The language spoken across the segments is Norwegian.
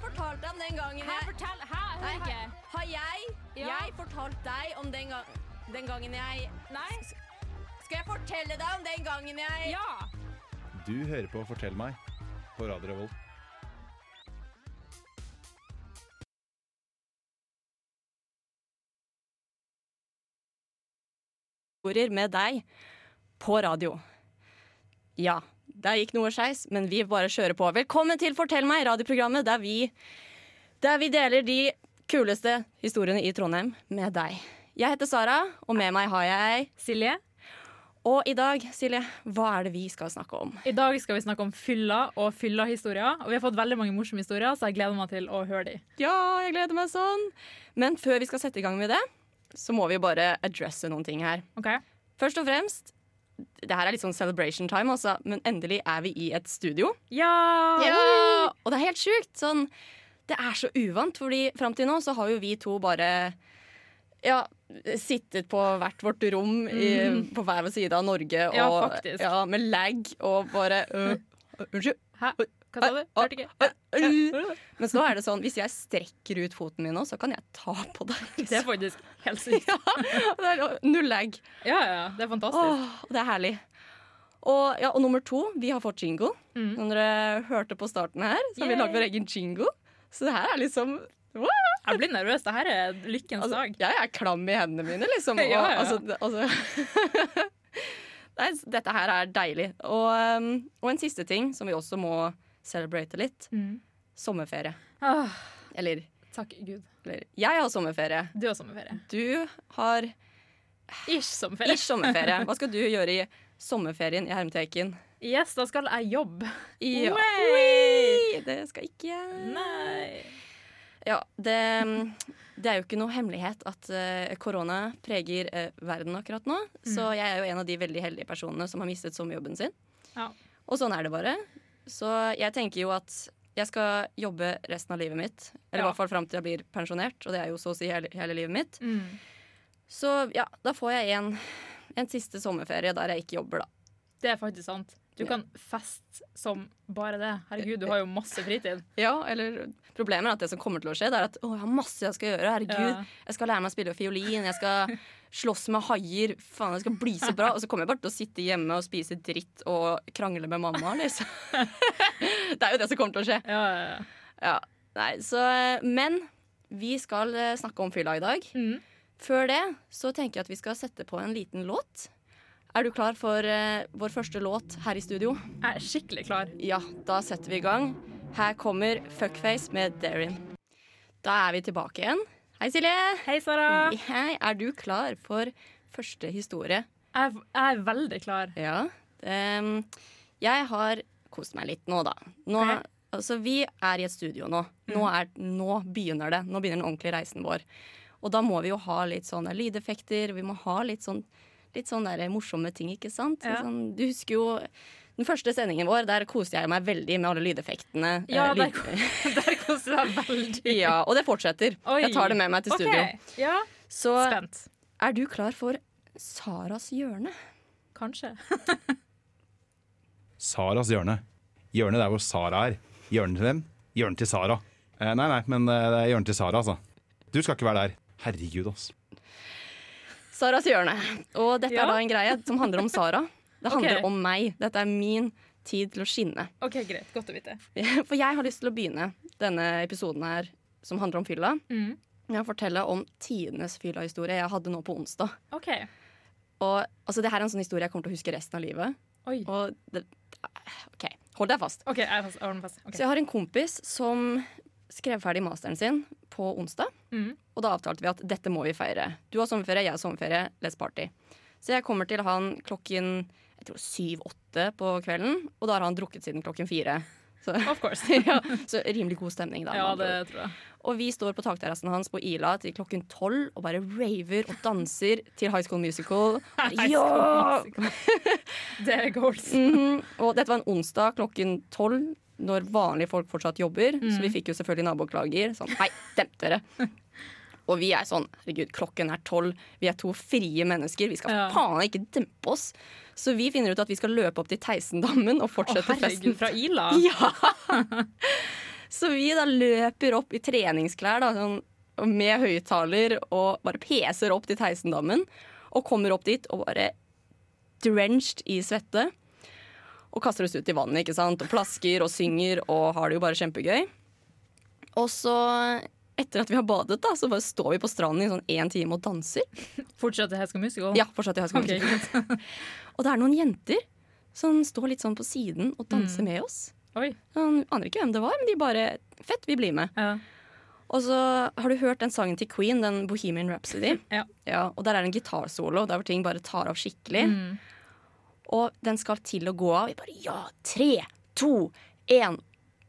fortalt deg om den gangen Hæ, jeg fortell! Nei, Hæ, hør har, ikke! har jeg, Ja. jeg fortalt deg om den, gang, den gangen jeg Nei? Skal jeg fortelle deg om den gangen jeg Ja! Du hører på Fortell meg på Radio Revolt. historier med deg på radio. Ja, der gikk noe skeis, men vi bare kjører på. Velkommen til Fortell meg, radioprogrammet der vi, der vi deler de kuleste historiene i Trondheim med deg. Jeg heter Sara, og med meg har jeg Silje, Og i dag, Silje, hva er det vi skal snakke om? i dag skal vi snakke om fylla og fylla-historier. Og vi har fått veldig mange morsomme historier, så jeg gleder meg til å høre de. Ja, jeg gleder meg sånn! Men før vi skal sette i gang med det, så må vi bare addresse noen ting her. Ok? Først og fremst, det her er litt sånn celebration time, altså, men endelig er vi i et studio. Ja! Ja, og det er helt sjukt. Sånn, det er så uvant, fordi fram til nå så har jo vi to bare ja, sittet på hvert vårt rom i, på hver vår side av Norge og, Mm. Ja, faktisk. ja, med lag og bare øh, øh, Unnskyld. Hæ? Hva sa du? Hørte ikke. Øh. Mens nå er det sånn, hvis jeg strekker ut foten min nå, så kan jeg ta på deg. Det er faktisk helt sykt. Det er null lag. Ja, ja. Det er fantastisk. Åh, det er herlig. Og, ja, og nummer to, vi har fått jingle. Mm. Som dere hørte på starten her, så har vi Yay. lagd vår egen jingle. Så det her er liksom wow. Jeg blir nervøs. Dette er lykkens altså, dag. Jeg er klam i hendene mine, liksom. Og, Ja, ja, ja. Altså, det- altså. Nei, s- dette her er deilig. Og, um, og en siste ting som vi også må celebrate litt. Mm. Sommerferie. Åh, Eller, takk Gud. eller jeg har sommerferie. Du har sommerferie. Du har Ish sommerferie. ish sommerferie. Hva skal du gjøre i sommerferien i Hermeteken? Yes, da skal jeg jobbe. Ja. Wey! Oi, Det skal ikke jeg. Nei. Ja, det, det er jo ikke noe hemmelighet at eh, korona preger eh, verden akkurat nå. Mm. Så jeg er jo en av de veldig heldige personene som har mistet sommerjobben sin. Ja. Og sånn er det bare. Så jeg tenker jo at jeg skal jobbe resten av livet mitt. Eller i Ja. hvert fall fram til jeg blir pensjonert, og det er jo så å si hele, hele livet mitt. Mm. Så ja, da får jeg en, en siste sommerferie der jeg ikke jobber, da. Det er faktisk sant. Du Ja. kan feste som bare det. Herregud, du har jo masse fritid. Ja, eller Problemet er at det som kommer til å skje, det er at å, jeg har masse jeg skal gjøre. Herregud, Ja. jeg skal lære meg å spille fiolin, jeg skal slåss med haier. Faen, jeg skal bli så bra. Og så kommer jeg bare til å sitte hjemme og spise dritt og krangle med mamma, liksom. det er jo det som kommer til å skje. Ja, ja, ja. Ja. Nei, så eh, Men vi skal eh, snakke om fylla i dag. Mm. Før det så tenker jeg at vi skal sette på en liten låt. Er du klar for eh, vår første låt her i studio? Jeg er skikkelig klar. Ja, da setter vi i gang. Her kommer Fuckface med Darin. Da er vi tilbake igjen. Hei, Silje. Hei, Sara. Hei, er du klar for første historie? Jeg, er- jeg er veldig klar. Ja. Ehm, jeg har kost meg litt nå, da. Nå, Ok. altså, vi er i et studio nå. Nå, Mm. er, nå begynner det. Nå begynner den ordentlige reisen vår. Og da må vi jo ha litt sånne lydeffekter, vi må ha litt sånn Litt sånn der morsomme ting, ikke sant? Ja. Sånn, du husker jo den første sendingen vår, der koste jeg meg veldig med alle lydeffektene. Ja, Eh, der, lyd- der koser jeg meg veldig. ja, og det fortsetter. Oi. Jeg tar det med meg til Ok. studio. Ja, Så spent. er du klar for Saras hjørne? Kanskje. Saras hjørne. Hjørnet der hvor Sara er. Hjørnet til hvem? Hjørnet til Sara. Eh, nei, nei, men eh, det er hjørnet til Sara, altså. Du skal ikke være der. Herregud, ass. Saras hjørne. Og dette Ja. er da en greie som handler om Sara. Det handler Ok. om meg. Dette er min tid til å skinne. OK, greit. Godt å vite. For jeg har lyst til å begynne denne episoden her som handler om fylla, Mm. med å fortelle om tidenes fyllahistorie jeg hadde nå på onsdag. OK. Og altså, det her er en sånn historie jeg kommer til å huske resten av livet. Oi. Og det, OK, hold deg fast. OK, jeg har jeg har den fast. Så Ok. jeg har en kompis som skrev ferdig masteren sin på onsdag. Mm. Og da avtalte vi at dette må vi feire. Du har sommerferie, jeg har sommerferie, let's party. Så jeg kommer til han klokken jeg tror syv-åtte på kvelden, og da har han drukket siden klokken fire. Så, Of course. ja, så rimelig god stemning da. med Ja, andre det ord. tror jeg. Og vi står på takterrassen hans på Ila til klokken tolv og bare raver og danser til High School Musical. High Ja! School Det er goals. Mhm. Og dette var en onsdag klokken tolv, når vanlige folk fortsatt jobber. Mm. Så vi fikk jo selvfølgelig naboklager. Sånn, hei, demp dere. Og vi er sånn, herregud, klokken er tolv. Vi er to frie mennesker. Vi skal Ja. faen ikke dempe oss. Så vi finner ut at vi skal løpe opp til Theisendammen og Å, fortsette herregud, festen. fra Ila? Ja! Så vi da løper opp i treningsklær da, sånn, med høyttaler og bare peser opp til Theisendammen. Og kommer opp dit og bare drenched i svette. Og kaster oss ut i vannet ikke sant? og plasker og synger og har det jo bare kjempegøy. Og så, etter at vi har badet, da, så bare står vi på stranden i sånn én time og danser. Fortsatt til High School Musical? Ja, fortsatt i High School Ok, Musical. greit. Og det er noen jenter som står litt sånn på siden og danser med oss. Oi. Han aner ikke hvem det var, men de bare Fett, vi blir med. Ja. Og så har du hørt den sangen til Queen, den Bohemian Rhapsody. Ja. og der er det en gitarsolo der hvor ting bare tar av skikkelig. Og den skal til å gå av. Vi bare ja! Tre, to, én!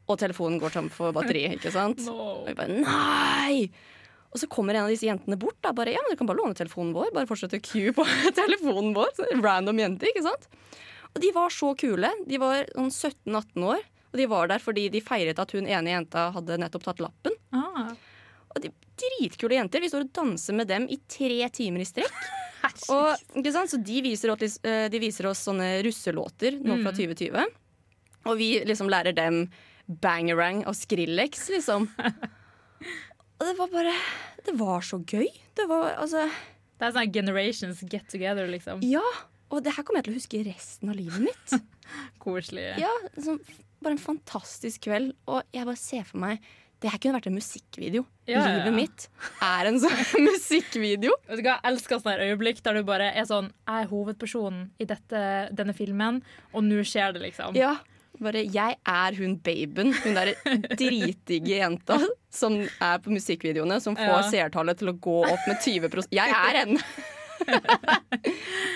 Og telefonen går tom for batteri, ikke sant? No. Og vi bare nei! Og så kommer en av disse jentene bort. da, bare, ja, men Du kan bare låne telefonen vår. Bare fortsette å queue på telefonen vår. Så random jente, ikke sant? Og de var så kule. De var sånn 17-18 år. Og de var der fordi de feiret at hun ene jenta hadde nettopp tatt lappen. Ah. Og de Dritkule jenter. Vi står og danser med dem i tre timer i strekk. Og, ikke sant? Så de viser, oss, eh, de viser oss sånne russelåter nå Mm. fra 2020. Og vi liksom lærer dem bangerang og Skrillex, liksom. Og det var bare Det var så gøy. Det var altså Det er sånn generations get together, liksom. Ja. Og det her kommer jeg til å huske resten av livet mitt. Koselig. Ja, liksom, bare en fantastisk kveld. Og jeg bare ser for meg Det her kunne vært en musikkvideo. Ja, ja, ja. Livet mitt er en sånn musikkvideo. Vet du hva, Jeg elsker sånne her øyeblikk der du bare er sånn Jeg er hovedpersonen i dette, denne filmen, og nå skjer det, liksom. Ja. Bare 'jeg er hun baben', hun derre dritdigge jenta som er på musikkvideoene, som får Ja. seertallet til å gå opp med 20 Jeg er henne!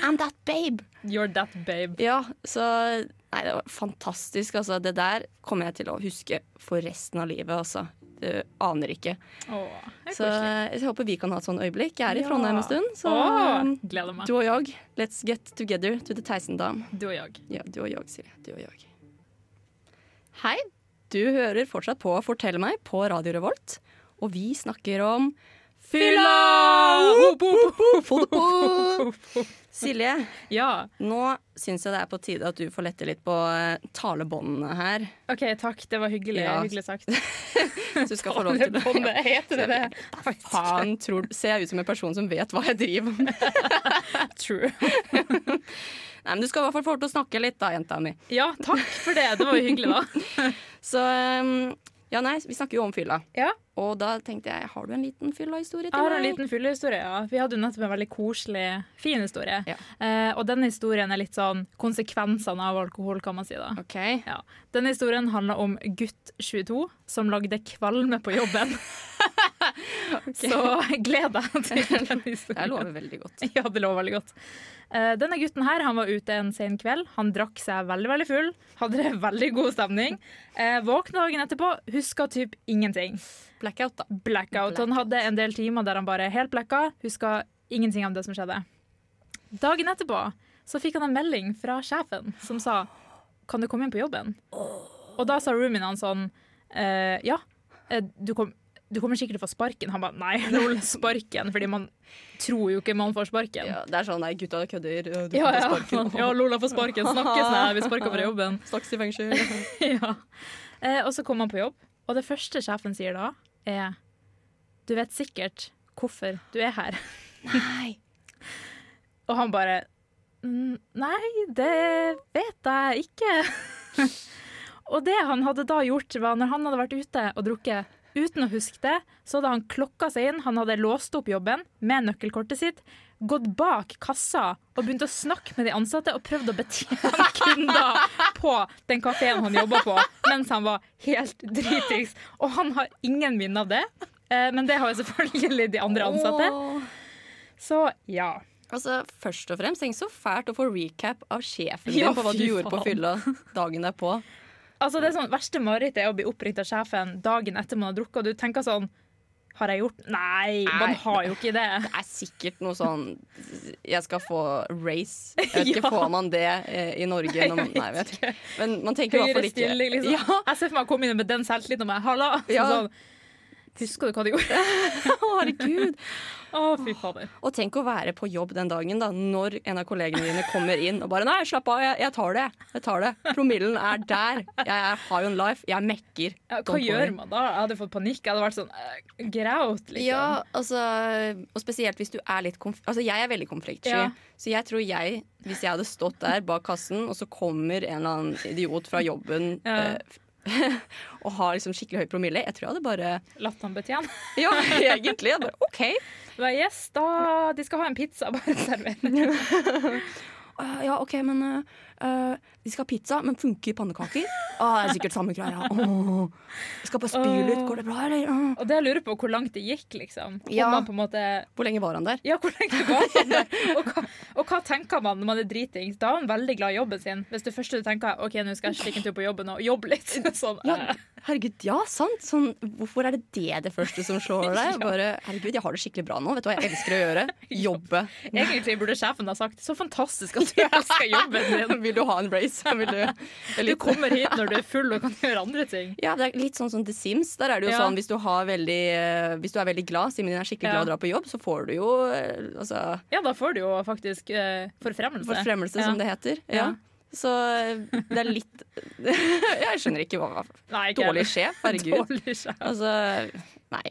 I'm that babe. You're that babe. Ja, så Nei, det var fantastisk, altså. Det der kommer jeg til å huske for resten av livet, altså. Du aner ikke. Åh, det er Så koselig. jeg håper vi kan ha et sånn øyeblikk. Jeg er i Ja. Trondheim en stund, så Åh, um, gleder meg. du og jeg, let's get together to the Theisendam. Du og jeg. Ja, du og jeg, Silje. Du og jeg. Hei, du hører fortsatt på Fortell meg på Radio Revolt, og vi snakker om Hopp, hopp, hopp, Få det på! hopp, hopp. Silje, Ja. nå syns jeg det er på tide at du får lette litt på eh, talebåndene her. OK, takk. Det var hyggelig. Ja. Hyggelig sagt. Så du skal få lov til å Båndet, heter det det? Faen. Faen, tror, ser jeg ut som en person som vet hva jeg driver med? True. Nei, men Du skal i hvert fall få lov til å snakke litt, da, jenta mi. Ja, takk for det. Det var jo hyggelig, da. Så um, ja, nei, vi snakker jo om fylla. Ja. Og da tenkte jeg, har du en liten fylla-historie Jeg til har en meg? liten fyllehistorie. Ja. Vi hadde jo nettopp en veldig koselig, fin historie. Ja. Eh, og den historien er litt sånn konsekvensene av alkohol, kan man si. da. Ok. Ja. Denne historien handler om gutt 22 som lagde kvalme på jobben. Så gled deg til den Jeg historien. lover veldig godt. Ja, det lå veldig godt. Eh, denne gutten her, han var ute en sen kveld. Han drakk seg veldig veldig full. Hadde det veldig god stemning. Eh, våkna dagen etterpå, huska typ ingenting. Blackout, da. Blackout. Han hadde en del timer der han bare helt blacka. Huska ingenting av det som skjedde. Dagen etterpå så fikk han en melding fra sjefen som sa Kan du komme inn på jobben? Og da sa roomien hans sånn «Eh, Ja, eh, du, kom, du kommer sikkert til å få sparken. Han bare nei, lol, sparken. Fordi man tror jo ikke man får sparken. Ja, det er sånn, nei, gutta kødder. og Du Ja, får ja. sparken. ja Lola får sparken. Snakkes, nei, vi sparker fra jobben. Snakkes i fengsel. ja. eh, og så kom han på jobb, og det første sjefen sier da, er Du vet sikkert hvorfor du er her. Nei. Og han bare «Mm, Nei, det vet jeg ikke. og det han hadde da gjort, var når han hadde vært ute og drukket uten å huske det, så hadde han klokka seg inn, han hadde låst opp jobben med nøkkelkortet sitt, gått bak kassa og begynt å snakke med de ansatte og prøvd å betjene kunder på den kafeen han jobba på, mens han var helt dritings. Og han har ingen minne av det, eh, men det har jo selvfølgelig de andre ansatte. Åh. Så ja. Altså, først og fremst, tenk så fælt å få recap av sjefen din Ja, på hva du fy gjorde på faen. fylla dagen derpå. Altså det er sånn, Verste mareritt er å bli oppringt av sjefen dagen etter man har drukket, og du tenker sånn Har jeg gjort Nei, man Nei. har jo ikke det. Det er sikkert noe sånn Jeg skal få race. Jeg vet ikke, Ja. Får man det eh, i Norge? Når man, nei, jeg vet ikke. Men man tenker i hvert Høyere fall ikke stilling, liksom. Ja, Jeg ser for meg å komme inn med den selvtilliten og meg, halla! Så Ja. Sånn, Husker du hva du gjorde? Å, herregud. Å, fy fader. Og tenk å være på jobb den dagen da, når en av kollegene dine kommer inn og bare 'Nei, slapp av, jeg, jeg tar det. jeg tar det Promillen er der. Jeg er high on life. Jeg mekker. Ja, hva Don't gjør worry.» man da? Jeg hadde fått panikk. Jeg hadde vært sånn eh, graut, liksom. Ja, altså, og spesielt hvis du er litt konf Altså, jeg er veldig konfliktsky, Ja. så jeg tror jeg, hvis jeg hadde stått der bak kassen, og så kommer en eller annen idiot fra jobben Ja. eh, og har liksom skikkelig høy promille, jeg tror jeg hadde bare Latt han betjene. Ja, egentlig. Jeg hadde bare, OK. Bare, yes, da, de skal ha en pizza, bare server. Eh, ja, OK, men eh, eh, de skal ha pizza, men funker pannekaker? Ah, det er sikkert samme greia. Åh. Jeg skal bare spyle ut. Går det bra, eller? Åh. Og det jeg lurer på, hvor langt det gikk, liksom. Ja. Om man på en måte Hvor lenge var han der? Ja, hvor lenge var han der? Og hva, og hva tenker man når man er dritings? Da er man veldig glad i jobben sin. Hvis det første du tenker OK, nå skal jeg stikke en tur på jobben og jobbe litt. Sånn, Ja, eh, herregud, ja, sant. Sånn, hvorfor er det det det første som slår deg? Ja. Bare, herregud, jeg har det skikkelig bra nå. Vet du hva jeg elsker å gjøre? Jobbe. eh, Egentlig burde sjefen ha sagt så fantastisk at du elsker jobben din. Vil du ha en race? Vil du, Du kommer hit når du er full og kan gjøre andre ting. Ja, det er litt sånn som The Sims. Der er det jo Ja. sånn, hvis du, har veldig, eh, hvis du er veldig glad, Simen din er skikkelig Ja. glad og drar på jobb, så får du jo eh, altså, Ja, da får du jo faktisk eh, forfremmelse. forfremmelse, ja. som det heter. Ja. Ja. Så eh, det er litt Jeg skjønner ikke hva Nei, ikke Dårlig heller. sjef, herregud. Dårlig sjef. Altså, nei.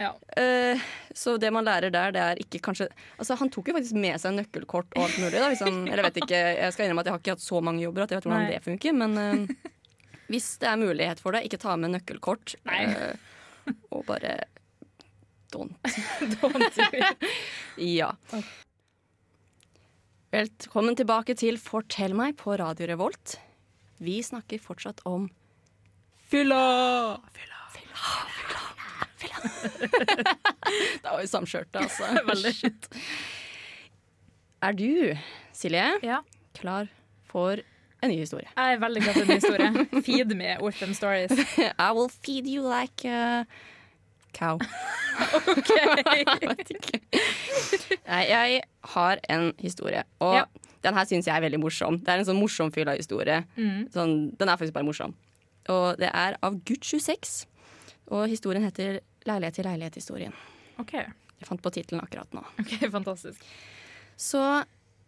Ja. Eh, så det man lærer der, det er ikke kanskje Altså, han tok jo faktisk med seg nøkkelkort og alt mulig, da, hvis han Eller vet ikke, jeg skal innrømme at jeg har ikke hatt så mange jobber at jeg vet hvordan Nei. det funker, men eh, hvis det er mulighet for det, ikke ta med nøkkelkort. Nei. eh, og bare don't. Don't do it. Ja. Ok. Velkommen tilbake til Fortell meg på Radio Revolt. Vi snakker fortsatt om Fylla! Det var jo samkjørte, altså. Veldig. Er du, Silje, Ja. klar for en ny historie? Jeg er veldig glad for en ny historie. Feed me with them stories. I will feed you like a cow. Ok. Nei, jeg har en historie, og Ja. den her syns jeg er veldig morsom. Det er en sånn morsom fylla historie. Mm. Sånn, den er faktisk bare morsom. Og det er av Gutt 26, og historien heter 'Leilighet til leilighet-historien'. OK, Jeg fant på tittelen akkurat nå. Ok, fantastisk. Så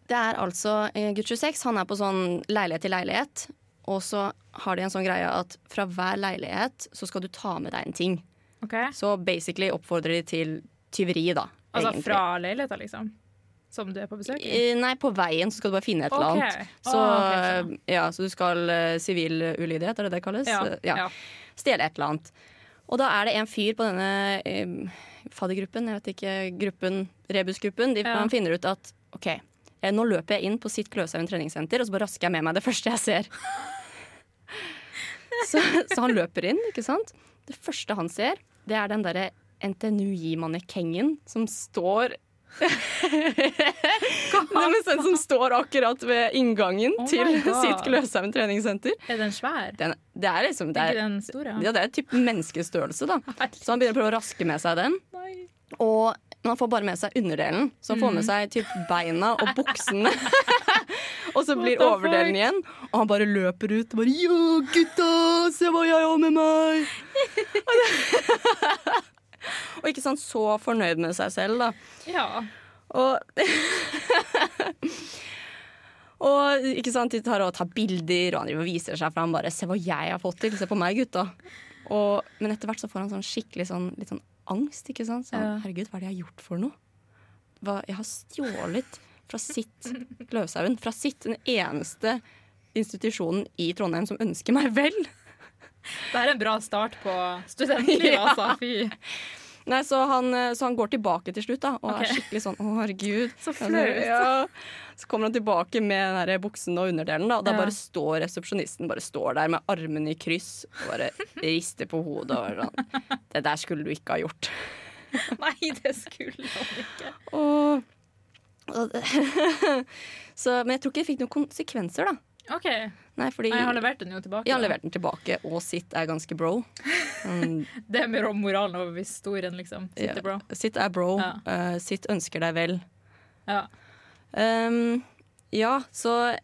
det er altså eh, Gutt 26, han er på sånn leilighet til leilighet. Og så har de en sånn greie at fra hver leilighet så skal du ta med deg en ting. Ok, Så basically oppfordrer de til tyveri, da. Altså egentlig. fra leiligheta, liksom? Som du er på besøk i? Eh, Nei, på veien så skal du bare finne et eller Ok. annet. Så, Ah, ok, ja, så du skal eh, Sivil ulydighet, er det det kalles? Ja. Eh, ja. Stjele et eller annet. Og da er det en fyr på denne eh, faddergruppen, jeg vet ikke, gruppen, rebusgruppen, de, Ja. han finner ut at OK, eh, nå løper jeg inn på sitt Kløshaugen treningssenter, og så bare rasker jeg med meg det første jeg ser. så, så han løper inn, ikke sant. Det første han ser, det er den derre NTNUI-mannekengen som står Nei, men den som står akkurat ved inngangen Oh my til God. sitt Kløshaugen treningssenter. Er den svær? Den, det er liksom det Er er, ikke den store? ja, det er typ menneskestørrelse, da. Herregud. Så han begynner å prøve å raske med seg den. Nei. Og men han får bare med seg underdelen. Så han får med seg typ beina og buksene. og så blir the fuck? overdelen igjen. Og han bare løper ut og bare Yo, gutta! Se hva jeg har med meg! Og det- og ikke sant, så fornøyd med seg selv, da. Ja. Og, og ikke sant, de tar og tar bilder, og han driver og viser seg, for han bare 'Se hva jeg har fått til! Se på meg, gutta!' Og, men etter hvert så får han sånn skikkelig sånn, litt sånn angst. ikke sant? Sånn, Ja. 'Herregud, hva er det jeg har gjort for noe?' Hva, jeg har stjålet fra sitt Løshaugen. Fra sitt, den eneste institusjonen i Trondheim som ønsker meg vel. Det er en bra start på studentlivet, Ja. altså. Fy. Nei, så han, eh, så han går tilbake til slutt da, og Ok. er skikkelig sånn 'Å, herregud'. Så Altså, flaut. Ja. Så kommer han tilbake med den her buksen og underdelen, da, og da Ja. bare står resepsjonisten bare står der med armene i kryss og bare rister på hodet og er sånn 'Det der skulle du ikke ha gjort'. Nei, det skulle han ikke. Og, og, så, men jeg tror ikke det fikk noen konsekvenser, da. OK. Nei, Nei, fordi jeg har levert den jo tilbake. jeg har da. levert den tilbake, og sitt er ganske bro. Mm, Det er mer om moralen over historien, liksom. Sitter ja. bra. Sitt er bro. Ja. eh, sitt ønsker deg vel. Ja. Ehm, ja, så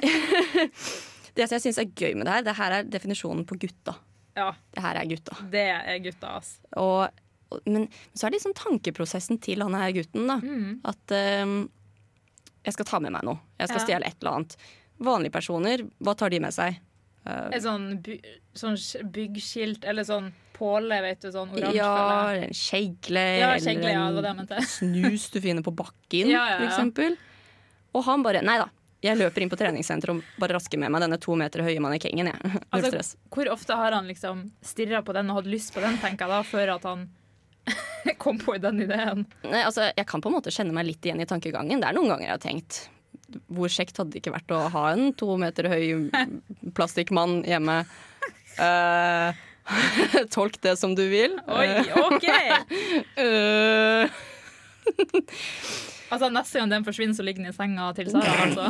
Det som jeg syns er gøy med det her, det her er definisjonen på gutta. Ja, Det her er gutta. det er gutta, ass. Og, og, men så er det liksom tankeprosessen til han her gutten, da. Mm. At ehm, jeg skal ta med meg noe. Jeg skal Ja. stjele et eller annet. Vanlige personer, hva tar de med seg? Et sånn, by, sånn sk- byggskilt eller sånn påle, vet du, sånn oransje. ja, eller- eller en kjegle, ja kjegle, ja, det var eller det en jeg mente. snus du finner på bakken, Ja, ja, ja. for eksempel. Og han bare Nei da. Jeg løper inn på treningssenteret og bare rasker med meg denne to meter høye mannekengen. Jeg. Null Altså, stress. hvor ofte har han liksom stirra på den og hatt lyst på den, tenker jeg da, før at han kom på den ideen? Nei, altså, jeg kan på en måte kjenne meg litt igjen i tankegangen. Det er noen ganger jeg har tenkt hvor kjekt hadde det ikke vært å ha en to meter høy plastikkmann hjemme. Eh, tolk det som du vil. Oi, OK! Eh, Altså, neste gang den forsvinner, så ligger den i senga til Sara, altså.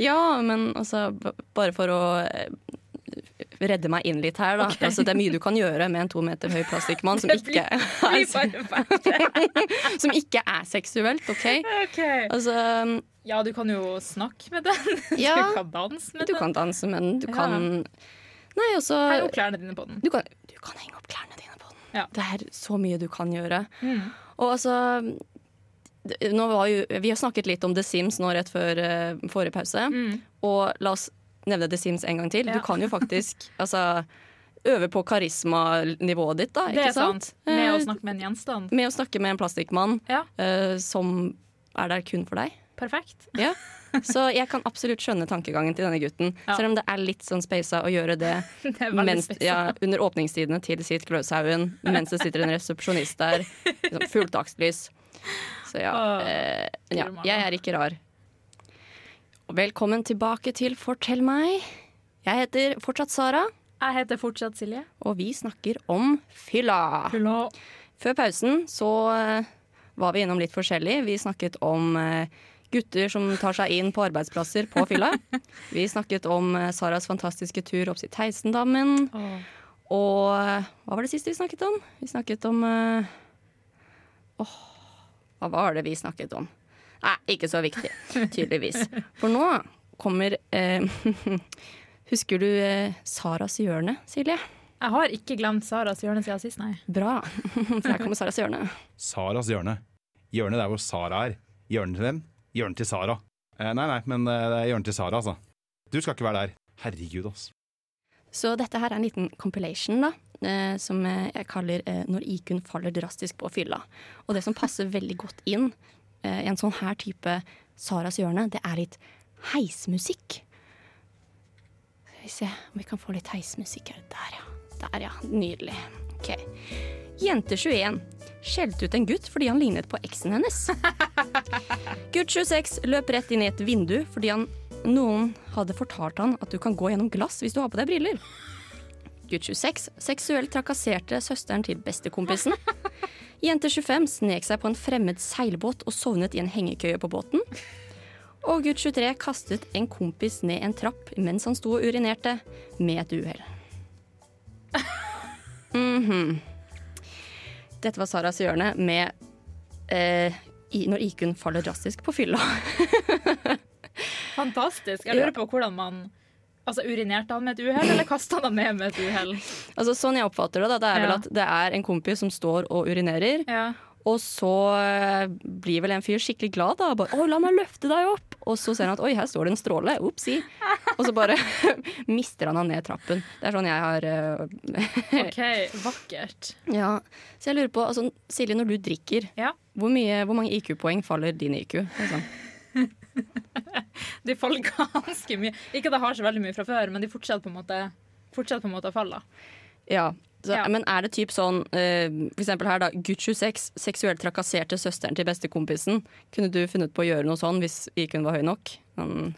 ja, men altså b- bare for å eh, redde meg inn litt her, da. Ok. Altså, det er mye du kan gjøre med en to meter høy plastikkmann som, Det blir- ikke er- Altså. Blir bare verre. som ikke er seksuelt, OK? Ok. Altså, Ja, du kan jo snakke med den. Ja. Du kan danse med du den. kan danse, men du Ja. kan Nei, Ta jo altså klærne dine på den. du kan, du kan henge opp klærne dine på den. Ja. Det er så mye du kan gjøre. Mm. Og altså d- nå var jo, Vi har snakket litt om The Sims nå rett før eh, forrige pause. Mm. Og la oss nevne The Sims en gang til. Ja. Du kan jo faktisk altså, øve på karismanivået ditt, da. Det ikke er sant. Med å Eh, snakke med en gjenstand. Med å snakke med en plastikkmann Ja. eh, som er der kun for deg. Perfekt. Ja. Så jeg kan absolutt skjønne tankegangen til denne gutten. Ja. Selv om det er litt sånn speisa å gjøre det Det er veldig mens, spesielt. ja, under åpningstidene til sitt Gløshaugen, mens det sitter en resepsjonist der. Liksom, fullt dagslys. Så ja, Åh, eh, ja. Guri malla. Jeg er ikke rar. Og Velkommen tilbake til Fortell meg. Jeg heter fortsatt Sara, Jeg heter fortsatt Silje. og vi snakker om fylla. Før pausen så eh, var vi innom litt forskjellig. Vi snakket om eh, gutter som tar seg inn på arbeidsplasser på fylla. Vi snakket om eh, Saras fantastiske tur opp til Theisendammen. Åh. Og eh, hva var det siste vi snakket om? Vi snakket om eh, Åh, hva var det vi snakket om? Nei, ikke så viktig, tydeligvis. For nå kommer eh, Husker du eh, Saras hjørne, Silje? Jeg har ikke glemt Saras hjørne siden sist, nei. Bra, for her kommer Saras hjørne. Saras hjørne. Hjørnet der hvor Sara er. Hjørnet til hvem? Hjørnet til Sara. Eh, nei, nei, men eh, det er hjørnet til Sara, altså. Du skal ikke være der. Herregud, ass. Så dette her er en liten compilation, da. eh, Som eh, jeg kaller eh, 'Når IQ-en faller drastisk på fylla'. Og det som passer veldig godt inn eh, i en sånn her type Saras hjørne, det er litt heismusikk. Skal vi se om vi kan få litt heismusikk her. Der, ja. Der, ja. Nydelig. OK. Jente 21 skjelte ut en gutt fordi han lignet på eksen hennes. Gutt 26 løp rett inn i et vindu fordi han, noen hadde fortalt han at du kan gå gjennom glass hvis du har på deg briller. Gutt 26 seksuelt trakasserte søsteren til bestekompisen. Jente 25 snek seg på en fremmed seilbåt og sovnet i en hengekøye på båten. Og gutt 23 kastet en kompis ned en trapp mens han sto og urinerte, med et uhell. Mhm. Dette var Saras hjørne med eh, i, Når IQ-en faller drastisk på fylla. Fantastisk. Jeg lurer på hvordan man Altså, urinerte han med et uhell, eller kasta han ned med et uhell? Altså, sånn jeg oppfatter det, da, det er vel Ja. at det er en kompis som står og urinerer. Ja. Og så eh, blir vel en fyr skikkelig glad da. og Bare, 'Å, la meg løfte deg opp!' Og så ser han at 'oi, her står det en stråle'. Opsi. Og så bare mister han han ned trappen. Det er sånn jeg har eh, OK, vakkert. Ja. Så jeg lurer på, altså, Silje, når du drikker, Ja. hvor, mye, hvor mange IQ-poeng faller din IQ? Liksom? De faller ganske mye. Ikke at jeg har så veldig mye fra før, men de fortsetter på en måte Fortsetter på en måte å falle. da. Ja. Så, Ja. Men er det typ sånn, eh, for eksempel her da, gutt 26, seksuelt trakasserte søsteren til bestekompisen. Kunne du funnet på å gjøre noe sånn hvis IQ-en var høy nok? Men,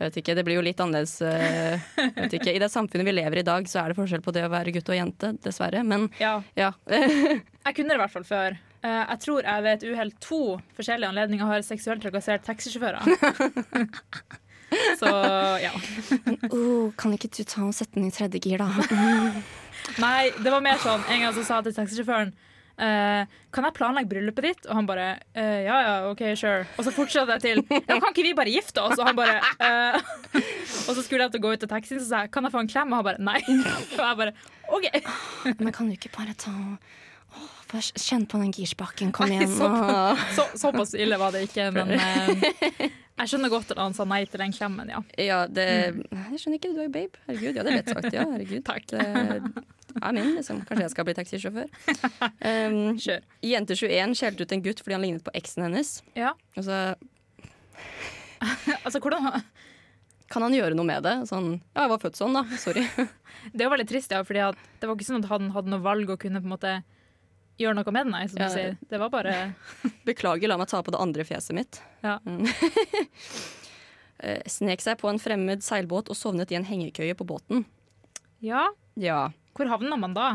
jeg vet ikke, det blir jo litt annerledes. eh, jeg vet ikke. I det samfunnet vi lever i i dag, så er det forskjell på det å være gutt og jente, dessverre. Men Ja. ja. Jeg kunne det i hvert fall før. Eh, Jeg tror jeg ved et uhell to forskjellige anledninger har seksuelt trakassert taxisjåfører. Så ja. oh, kan ikke du ta og sette den i tredje gir, da? Nei, det var mer sånn En gang så sa jeg til taxisjåføren eh, Kan jeg planlegge bryllupet ditt? Og han bare eh, Ja ja, OK, sure. Og så fortsatte jeg til Ja, kan ikke vi bare gifte oss? Og han bare eh, Og så skulle jeg til å gå ut til taxien, så sa jeg Kan jeg få en klem? Og han bare Nei. Og jeg bare OK. Men kan du ikke bare ta Åh, bare Kjenn på den girspaken, kom Nei, igjen. såpass, og- så, såpass ille var det ikke, men eh, jeg skjønner godt at han sa nei til den klemmen, ja. Ja, det Jeg skjønner ikke, du er jo babe. Herregud, ja, det er lett sagt. Ja, herregud. Mm. Takk. Det er min, liksom. Kanskje jeg skal bli taxisjåfør. Um, Kjør. Jente21 skjelte ut en gutt fordi han lignet på eksen hennes. Ja. Og så Altså, hvordan, kan han gjøre noe med det. Sånn Ja, jeg var født sånn, da. Sorry. det er jo veldig trist, ja, fordi at det var ikke sånn at han hadde noe valg og kunne på en måte gjøre noe med den, nei, som Ja. du sier. Det var bare Beklager, la meg ta på det andre fjeset mitt. Ja. Mm. Eh, Snek seg på en fremmed seilbåt og sovnet i en hengekøye på båten. Ja, Ja. hvor havna man da?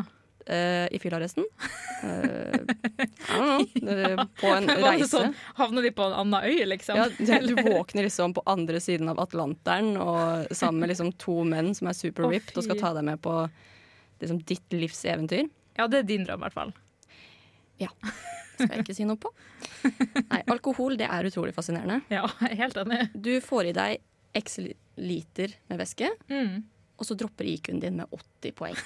eh, I fyllearresten. Eh, I don't know. Eh, På en Var det reise. sånn, havna de på en annen øy, liksom? Ja, du, du våkner liksom på andre siden av Atlanteren og sammen med liksom to menn som er super Å, ripped og skal fy. ta deg med på liksom ditt livs eventyr. Ja, det er din drøm, i hvert fall. Skal jeg ikke si noe på. Nei, alkohol det er utrolig fascinerende. Ja, jeg er helt enig. Du får i deg x liter med væske, Mm. og så dropper IQ-en din med 80 poeng.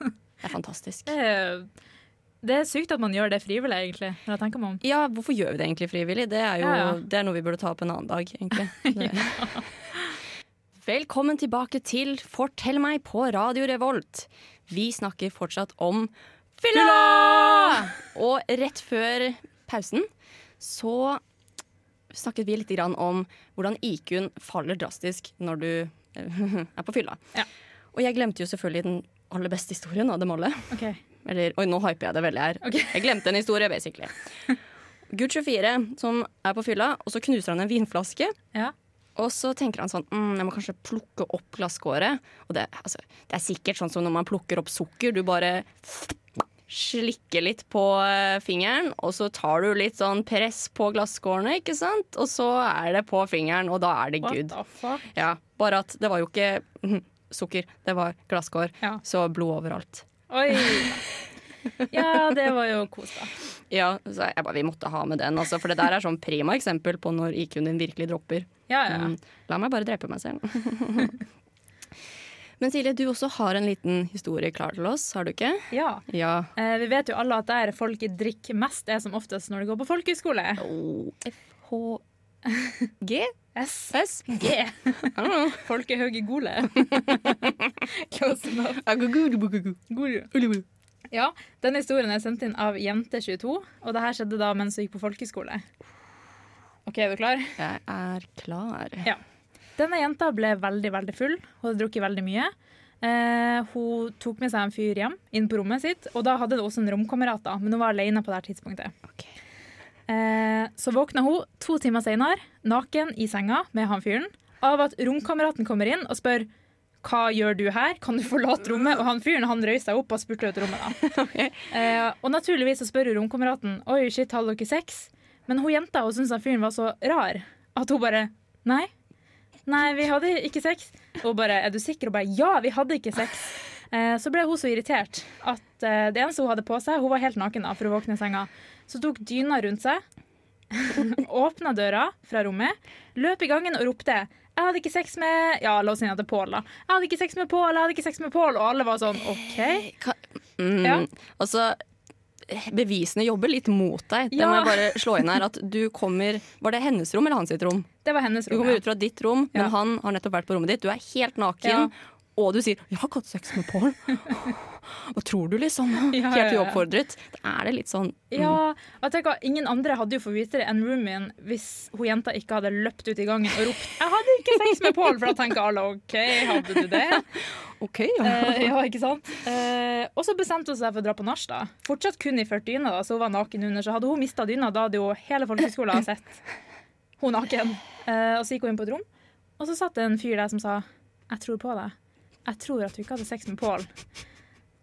Det er fantastisk. Det, er- det er sykt at man gjør det frivillig, egentlig, når jeg tenker meg om. Ja, hvorfor gjør vi det egentlig frivillig? Det er jo Ja, ja. Det er noe vi burde ta opp en annen dag, egentlig. Det. Velkommen tilbake til Fortell meg på Radio Revolt. Vi snakker fortsatt om fylla! Og rett før pausen så snakket vi litt grann om hvordan IQ-en faller drastisk når du eh, er på fylla. Ja. Og jeg glemte jo selvfølgelig den aller beste historien av dem alle. Ok, Eller, oi, nå hyper jeg det veldig her. Ok. Jeg glemte en historie, basically. Gutt 24 som er på fylla, og så knuser han en vinflaske. ja. Og så tenker han sånn mm, Jeg må kanskje plukke opp glasskåret. Og det, altså, det er sikkert sånn som når man plukker opp sukker. Du bare slikker litt på eh, fingeren, og så tar du litt sånn press på glasskårene, ikke sant? Og så er det på fingeren, og da er det What good. the fuck? Ja, bare at det var jo ikke mm, sukker, det var glasskår. Ja. Så blod overalt. Oi. Ja, det var jo kos, da. Ja, så jeg bare, vi måtte ha med den, altså, for det der er sånn prima eksempel på når IQ-en din virkelig dropper. Ja, ja. Mm, la meg bare drepe meg selv. Men Silje, du også har en liten historie klar til oss, har du ikke? ja. Ja. Eh, vi vet jo alle at der folk drikker mest, er som oftest når de går på folkehøyskole. F-H-G? S. S? G. Folkehøygole. Close enough. Guru. Ja, denne historien er sendt inn av Jente22, og det her skjedde da mens hun gikk på folkehøyskole. OK, er du klar? Jeg er klar. Ja. Denne jenta ble veldig, veldig full. Hun hadde drukket veldig mye. Eh, hun tok med seg en fyr hjem, inn på rommet sitt, og da hadde hun også en romkamerat, da, men hun var alene på det her tidspunktet. Ok. Eh, så våkna hun to timer senere, naken i senga med han fyren, av at romkameraten kommer inn og spør hva gjør du her, kan du forlate rommet? Og han fyren han røyste seg opp og spurte ut rommet. da. Eh, og naturligvis så spør hun romkameraten Oi, shit, hadde dere sex. Men hun jenta hun syntes han fyren var så rar at hun bare Nei. Nei, vi hadde ikke sex. Og hun bare, er du sikker? Og bare, ja, vi hadde ikke sex. Eh, så ble hun så irritert at eh, det eneste hun hadde på seg, hun var helt naken da, for å våkne i senga, så tok dyna rundt seg, åpna døra fra rommet, løp i gangen og ropte, jeg hadde ikke sex med, ja, la oss si at det er Pål da, jeg hadde ikke sex med Pål, jeg hadde ikke sex med Pål, og alle var sånn, ok. Ka- Mm, Ja. Altså, bevisene jobber litt mot deg. Det må Ja. jeg bare slå inn her. At du kommer Var det hennes rom eller hans sitt rom? Det var hennes Du rom. kommer ja. ut fra ditt rom, men Ja. han har nettopp vært på rommet ditt. Du er helt Ja. naken, og du sier 'jeg har ikke hatt sex med Paul'. Hva tror du, liksom? Ja, ja, Helt ja. uoppfordret. Da er det litt sånn Ja, og jeg tenker, Ingen andre hadde jo fått vite det enn roomien hvis hun jenta ikke hadde løpt ut i gangen og ropt 'Jeg hadde ikke sex med Pål', for da tenker alle 'OK, hadde du det?' OK, ja. Eh, ja, ikke sant? Eh, og så bestemte hun seg for å dra på nach, da. Fortsatt kun iført dyna, da, så hun var naken under. Så hadde hun mista dyna, da hadde jo hele folkehøyskolen sett hun naken. Eh, og så gikk hun inn på et rom, og så satt det en fyr der som sa 'Jeg tror på deg. Jeg tror at du ikke hadde sex med Pål'.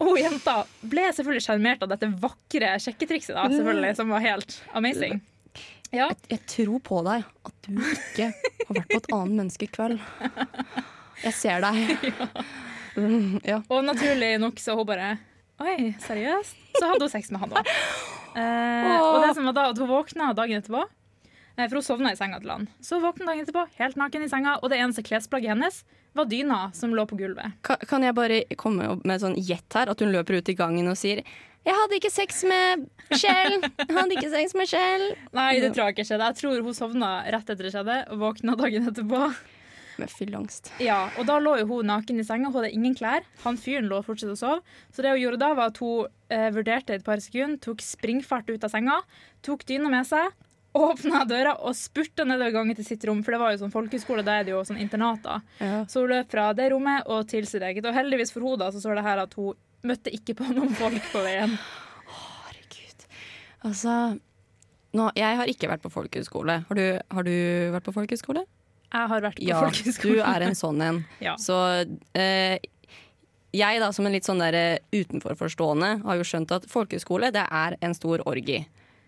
Og hun jenta ble selvfølgelig sjarmert av dette vakre sjekketrikset, da, selvfølgelig, som var helt amazing. Ja. Jeg tror på deg at du ikke har vært på et annet menneske i kveld. Jeg ser deg. Mm, Ja. Og naturlig nok så hun bare Oi, seriøst? Så hadde hun sex med han òg. Eh, og det som var da, at hun våkna dagen etterpå, eh, for hun sovna i senga til han. Så hun våkna dagen etterpå, helt naken i senga, og det eneste klesplagget hennes var dyna som lå på gulvet. Kan, kan jeg bare komme opp med sånn gjett her? At hun løper ut i gangen og sier 'Jeg hadde ikke sex med Kjell'. Jeg hadde ikke sex med Kjell. Nei, det tror jeg ikke skjedde. Jeg tror hun sovna rett etter det skjedde, og våkna dagen etterpå. Med fylleangst. Ja, og da lå jo hun naken i senga, hun hadde ingen klær. Han fyren lå fortsatt og sov. Så det hun gjorde da, var at hun eh, vurderte et par sekunder, tok springfart ut av senga, tok dyna med seg, åpna døra og spurta nedover gangen til sitt rom, for det var jo sånn folkehøyskole, da er det jo sånn internater. Ja. Så hun løp fra det rommet og til sitt eget. Og heldigvis for henne da, så står det her at hun møtte ikke på noen folk på veien. Herregud. Altså nå, Jeg har ikke vært på folkehøyskole. Har du, har du vært på folkehøyskole? Jeg har vært på Ja, du folkehøyskole. er en sånn en. Ja. Så eh, jeg, da, som en litt sånn der eh, utenforforstående, har jo skjønt at folkehøyskole det er en stor orgi.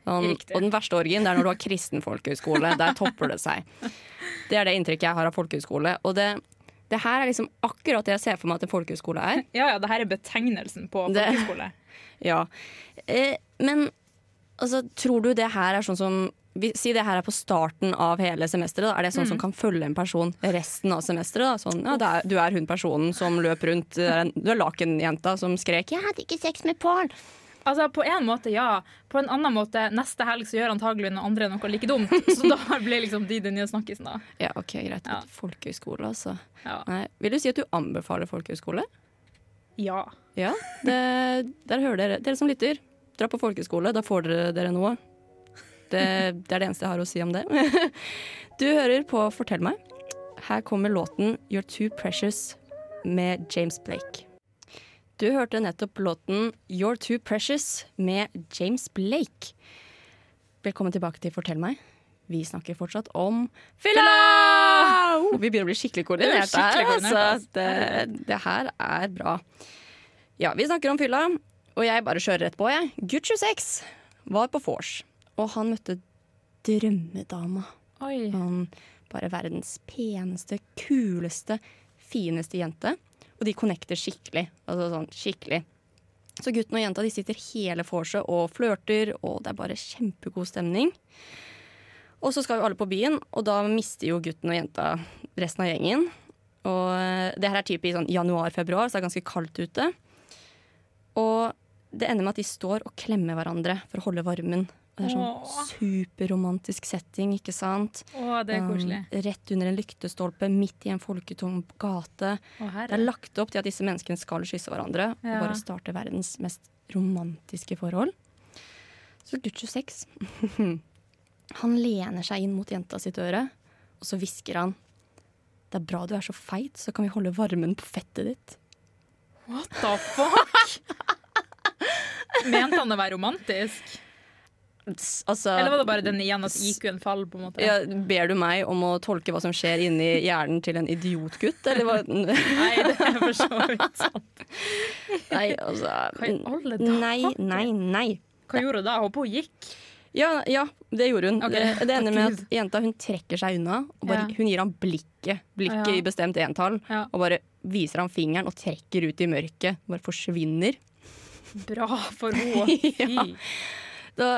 Sånn, Riktig. og den verste orgien det er når du har kristen folkehøyskole. Der topper det seg. Det er det inntrykket jeg har av folkehøyskole. Og det, det her er liksom akkurat det jeg ser for meg at en folkehøyskole er. Ja, ja, det her er betegnelsen på Det- folkehøyskole. Ja. Eh, men altså, tror du det her er sånn som vi- Si det her er på starten av hele semesteret. Da. Er det sånn som kan følge en person resten av semesteret? Da? Sånn, ja, det er, du er hun personen som løp rundt. Du er, en- du er lakenjenta som skrek 'Jeg hadde ikke sex med Pål'. Altså, På en måte, ja. På en annen måte, neste helg så gjør antagelig noen andre noe like dumt. Så da blir liksom de den nye snakkisen, da. Ja, OK, greit. Ja. Folkehøyskole, altså. Ja. Nei, vil du si at du anbefaler folkehøyskole? ja. Ja. Det, der hører dere. Dere som lytter, dra på folkehøyskole. Da får dere dere noe. Det, det er det eneste jeg har å si om det. Du hører på Fortell meg. Her kommer låten You're Too Precious med James Blake. Du hørte nettopp låten You're Too Precious med James Blake. Velkommen tilbake til Fortell meg. Vi snakker fortsatt om fylla! Vi begynner å bli skikkelig Ja, koordinert skikkelig her. koordinert, Altså. altså. Det, det her er bra. Ja, vi snakker om fylla, og jeg bare kjører rett på, jeg. Gutt 26 var på vors, og han møtte drømmedama. Oi. Han bare verdens peneste, kuleste, fineste jente. Og de connecter skikkelig. Altså sånn skikkelig. Så gutten og jenta de sitter hele vorset og flørter, og det er bare kjempegod stemning. Og så skal jo alle på byen, og da mister jo gutten og jenta resten av gjengen. Og eh, det her er typisk sånn januar-februar, så det er ganske kaldt ute. Og det ender med at de står og klemmer hverandre for å holde varmen. Og det Åh. er sånn superromantisk setting, ikke sant? Å, det er koselig. Um, Rett under en lyktestolpe, midt i en folketom gate. Å, Det er herre. lagt opp til at disse menneskene skal kysse hverandre Ja. og bare starte verdens mest romantiske forhold. Så gutt 26 Han lener seg inn mot jenta sitt øre, og så hvisker han. Det er bra du er så feit, så kan vi holde varmen på fettet ditt. What the fuck? Mente han det var romantisk? Altså, Eller var det bare den igjen at IQ-en faller, på en måte? ja, ber du meg om å tolke hva som skjer inni hjernen til en idiotgutt, eller hva? Nei, det er for så vidt sant. Nei, altså Hva i alle dager? Nei, nei, nei. Hva gjorde hun da? Håper hun gikk? Ja, ja, det gjorde hun. Eh, Ok. Det, det ender med at jenta hun trekker seg unna. Og bare, Ja. Hun gir ham blikket, blikket Ja. i bestemt entall, Ja. og bare viser ham fingeren og trekker ut i mørket. Bare forsvinner. Bra for henne. Ja. Fy. Da,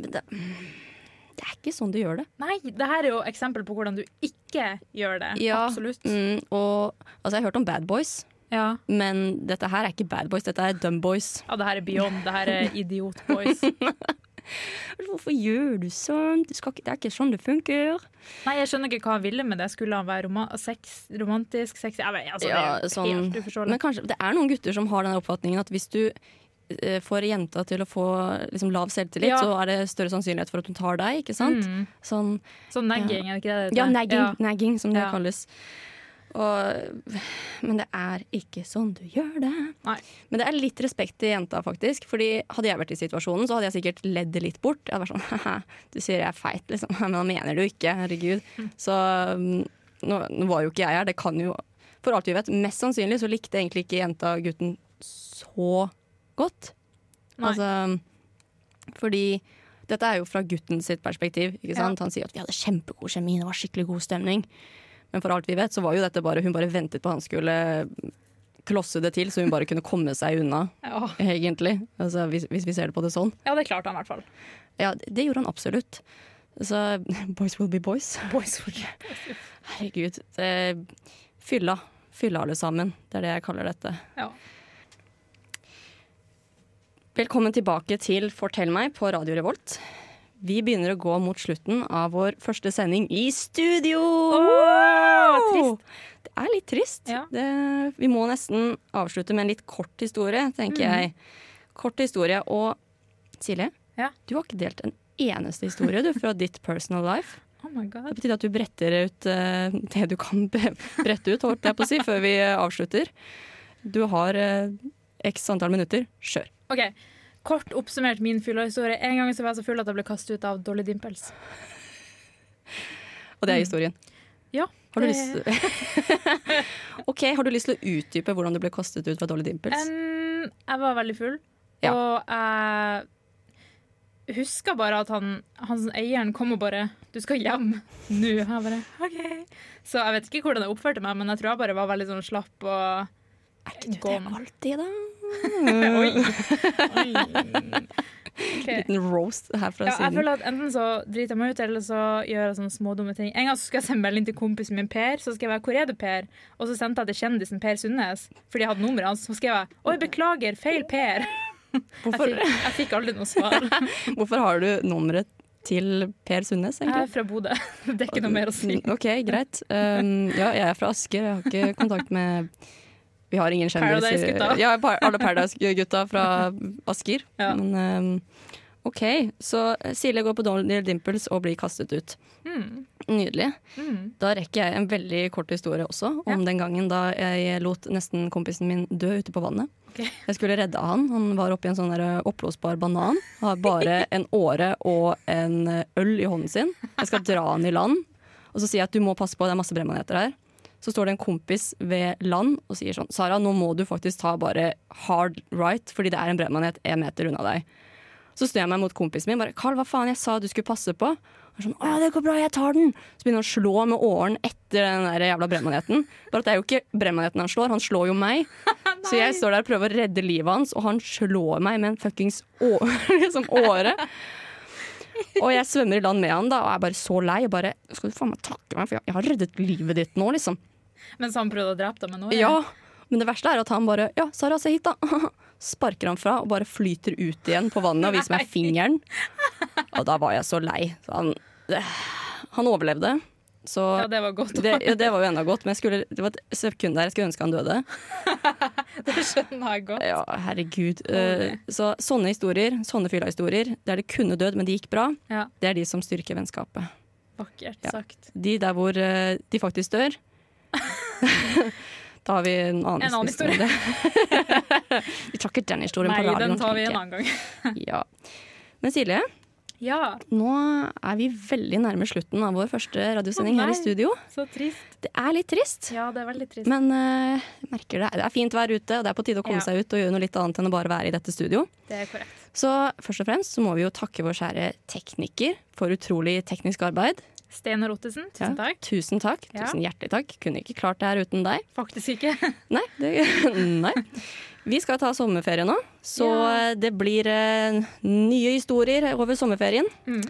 men det, det er ikke sånn du gjør det. Nei, det her er jo eksempel på hvordan du ikke gjør det. Ja. Absolutt. Mm, og altså, jeg har hørt om Bad Boys, Ja. men dette her er ikke Bad Boys, dette er Dumb Boys. ja, det her er beyond. Det her er idiot boys. Hvorfor gjør du sånn? Du skal ikke, det er ikke sånn det funker. Nei, jeg skjønner ikke hva han ville med det. Skulle han være roma sex, romantisk, sexy? Jeg vet, altså, Ja, det er sånn. helt uforståelig. Men kanskje, det er noen gutter som har den oppfatningen at hvis du eh, får jenta til å få liksom, lav selvtillit, Ja. så er det større sannsynlighet for at hun tar deg. ikke sant? Mm. Sånn, Sånn nagging, er det ikke det? det ja, heter? nagging, Ja. nagging som det Ja. kalles. Og, men det er ikke sånn du gjør det. Nei. Men det er litt respekt til jenta, faktisk. Fordi Hadde jeg vært i situasjonen, så hadde jeg sikkert ledd det litt bort. Jeg hadde vært sånn, «Haha, Du sier jeg er feit, liksom. Men da mener du ikke. Herregud. Så mm, nå, nå var jo ikke jeg her. Det kan jo For alt vi vet, mest sannsynlig så likte egentlig ikke jenta gutten så godt. Nei. Altså Fordi dette er jo fra gutten sitt perspektiv. Ikke Ja. sant? Han sier at vi hadde kjempegod kjemi, det var skikkelig god stemning. Men for alt vi vet, så var jo dette bare hun bare ventet på han skulle klosse det til, så hun bare kunne komme seg unna, Ja. egentlig. Altså, hvis, hvis vi ser det på det sånn. ja, det klarte han i hvert fall. Ja, det det gjorde han absolutt. Så boys will be boys. Herregud. Det, fylla. Fylla alle sammen. Det er det jeg kaller dette. Ja. Velkommen tilbake til Fortell meg på Radio Revolt. Vi begynner å gå mot slutten av vår første sending i studio! Wow! Det er litt trist. Ja. Det, vi må nesten avslutte med en litt kort historie, tenker Mm. jeg. Kort historie. Og Silje, Ja. du har ikke delt en eneste historie du, fra ditt personal life. Oh my Det god. betyr at du bretter ut eh, det du kan be- brette ut, holdt jeg på å si, før vi eh, avslutter. Du har eh, x antall minutter. Kjør. Ok, Kort oppsummert min fyllehistorie. En gang så var jeg så full at jeg ble kastet ut av Dolly Dimples. Og det er historien. Mm. Ja, Har du det- lyst Ok, har du lyst til å utdype hvordan du ble kastet ut fra Dolly Dimples? Um, jeg var veldig full, Ja. og jeg husker bare at han, hans eieren kom og bare 'Du skal hjem nå.' Jeg bare, ok. Så jeg vet ikke hvordan jeg oppførte meg, men jeg tror jeg bare var veldig sånn slapp og er ikke du det Gorman. alltid, da? Oi! Oi. Ok. Mm. Liten roast her fra Ja, jeg siden. føler at Enten så driter jeg meg ut, eller så gjør jeg sånne smådumme ting. En gang så skulle jeg sende melding til kompisen min Per, så skrev jeg 'Hvor er du, Per?' Og så sendte jeg til kjendisen Per Sundnes, fordi jeg hadde nummeret hans. Så skrev jeg 'Oi, beklager, feil Per'. Jeg Hvorfor, fikk, jeg fikk aldri noe svar. hvorfor har du nummeret til Per Sundnes, Jeg er egentlig? fra Bodø. Det er ikke noe mer å si. OK, greit. Um, ja, jeg er fra Asker. Jeg har ikke kontakt med Vi har ingen kjendiser. Paradise-gutta. Ja, par- alle Paradise-gutta fra Asker. Ja. Men um, OK, så eh, Silje går på Dolly Dimples og blir kastet ut. Mm. Nydelig. Mm. Da rekker jeg en veldig kort historie også, om den gangen da jeg lot nesten kompisen min dø ute på vannet. Ok. Jeg skulle redde han. Han var oppi en sånn der oppblåsbar banan. Har bare en åre og en eh, øl i hånden sin. Jeg skal dra han i land. Og så sier jeg at du må passe på, det er masse bremmaneter her. Så står det en kompis ved land og sier sånn Sara, nå må du faktisk ta bare hard right, fordi det er en bremmanet en meter unna deg. Så snur jeg meg mot kompisen min bare Carl, hva faen, jeg sa du skulle passe på. Han er sånn, å ja, det går bra, jeg tar den. Så begynner han å slå med åren etter den der jævla bremmaneten. Bare at det er jo ikke bremmaneten han slår, han slår jo meg. Så jeg står der og prøver å redde livet hans, og han slår meg med en fuckings å liksom åre. Og jeg svømmer i land med han da, og er bare så lei. Og bare, skal du faen meg takke meg, for jeg, jeg har reddet livet ditt nå, liksom. Mens han prøvde å drepe deg med noe? Ja, men det verste er at han bare Ja, Sara, se hit, da. Sparker han fra og bare flyter ut igjen på vannet og viser meg fingeren. Og da var jeg så lei. Så han, det- han overlevde. Ja, Så det var godt. det, ja, det var jo enda godt, men jeg skulle, det var et sekund der jeg skulle ønske han døde. Det skjønner jeg godt. Ja, herregud. Eh, Så sånne historier, sånne fyllahistorier, der det kunne dødd, men det gikk bra, Ja, det er de som styrker vennskapet. Vakkert Ja. sagt. De der hvor eh, de faktisk dør. Da har vi en annen, En annen diskusjon om det. vi tar ikke den historien Nei, på radioen. den tar vi en tenker annen gang. jeg. Ja. Men Silje, Ja, nå er vi veldig nærme slutten av vår første radiosending Å, her i nei. studio. så trist. Det er litt trist, Ja, det er veldig trist. men eh, jeg merker det. det er fint vær ute, og det er på tide å komme Ja. seg ut og gjøre noe litt annet enn å bare være i dette studio. Det er korrekt. Så først og fremst så må vi jo takke vår kjære tekniker for utrolig teknisk arbeid. Steinar Ottesen, tusen Ja, takk. Tusen takk. Ja. Tusen hjertelig takk. Kunne ikke klart det her uten deg. Faktisk ikke. Nei, det, nei. Vi skal ta sommerferie nå, så Ja. eh, det blir eh, nye historier over sommerferien. Mm.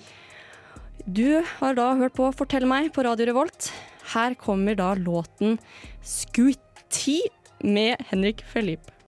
Du har da hørt på Fortell meg på Radio Revolt. Her kommer da låten Scooty med Henrik Felipe.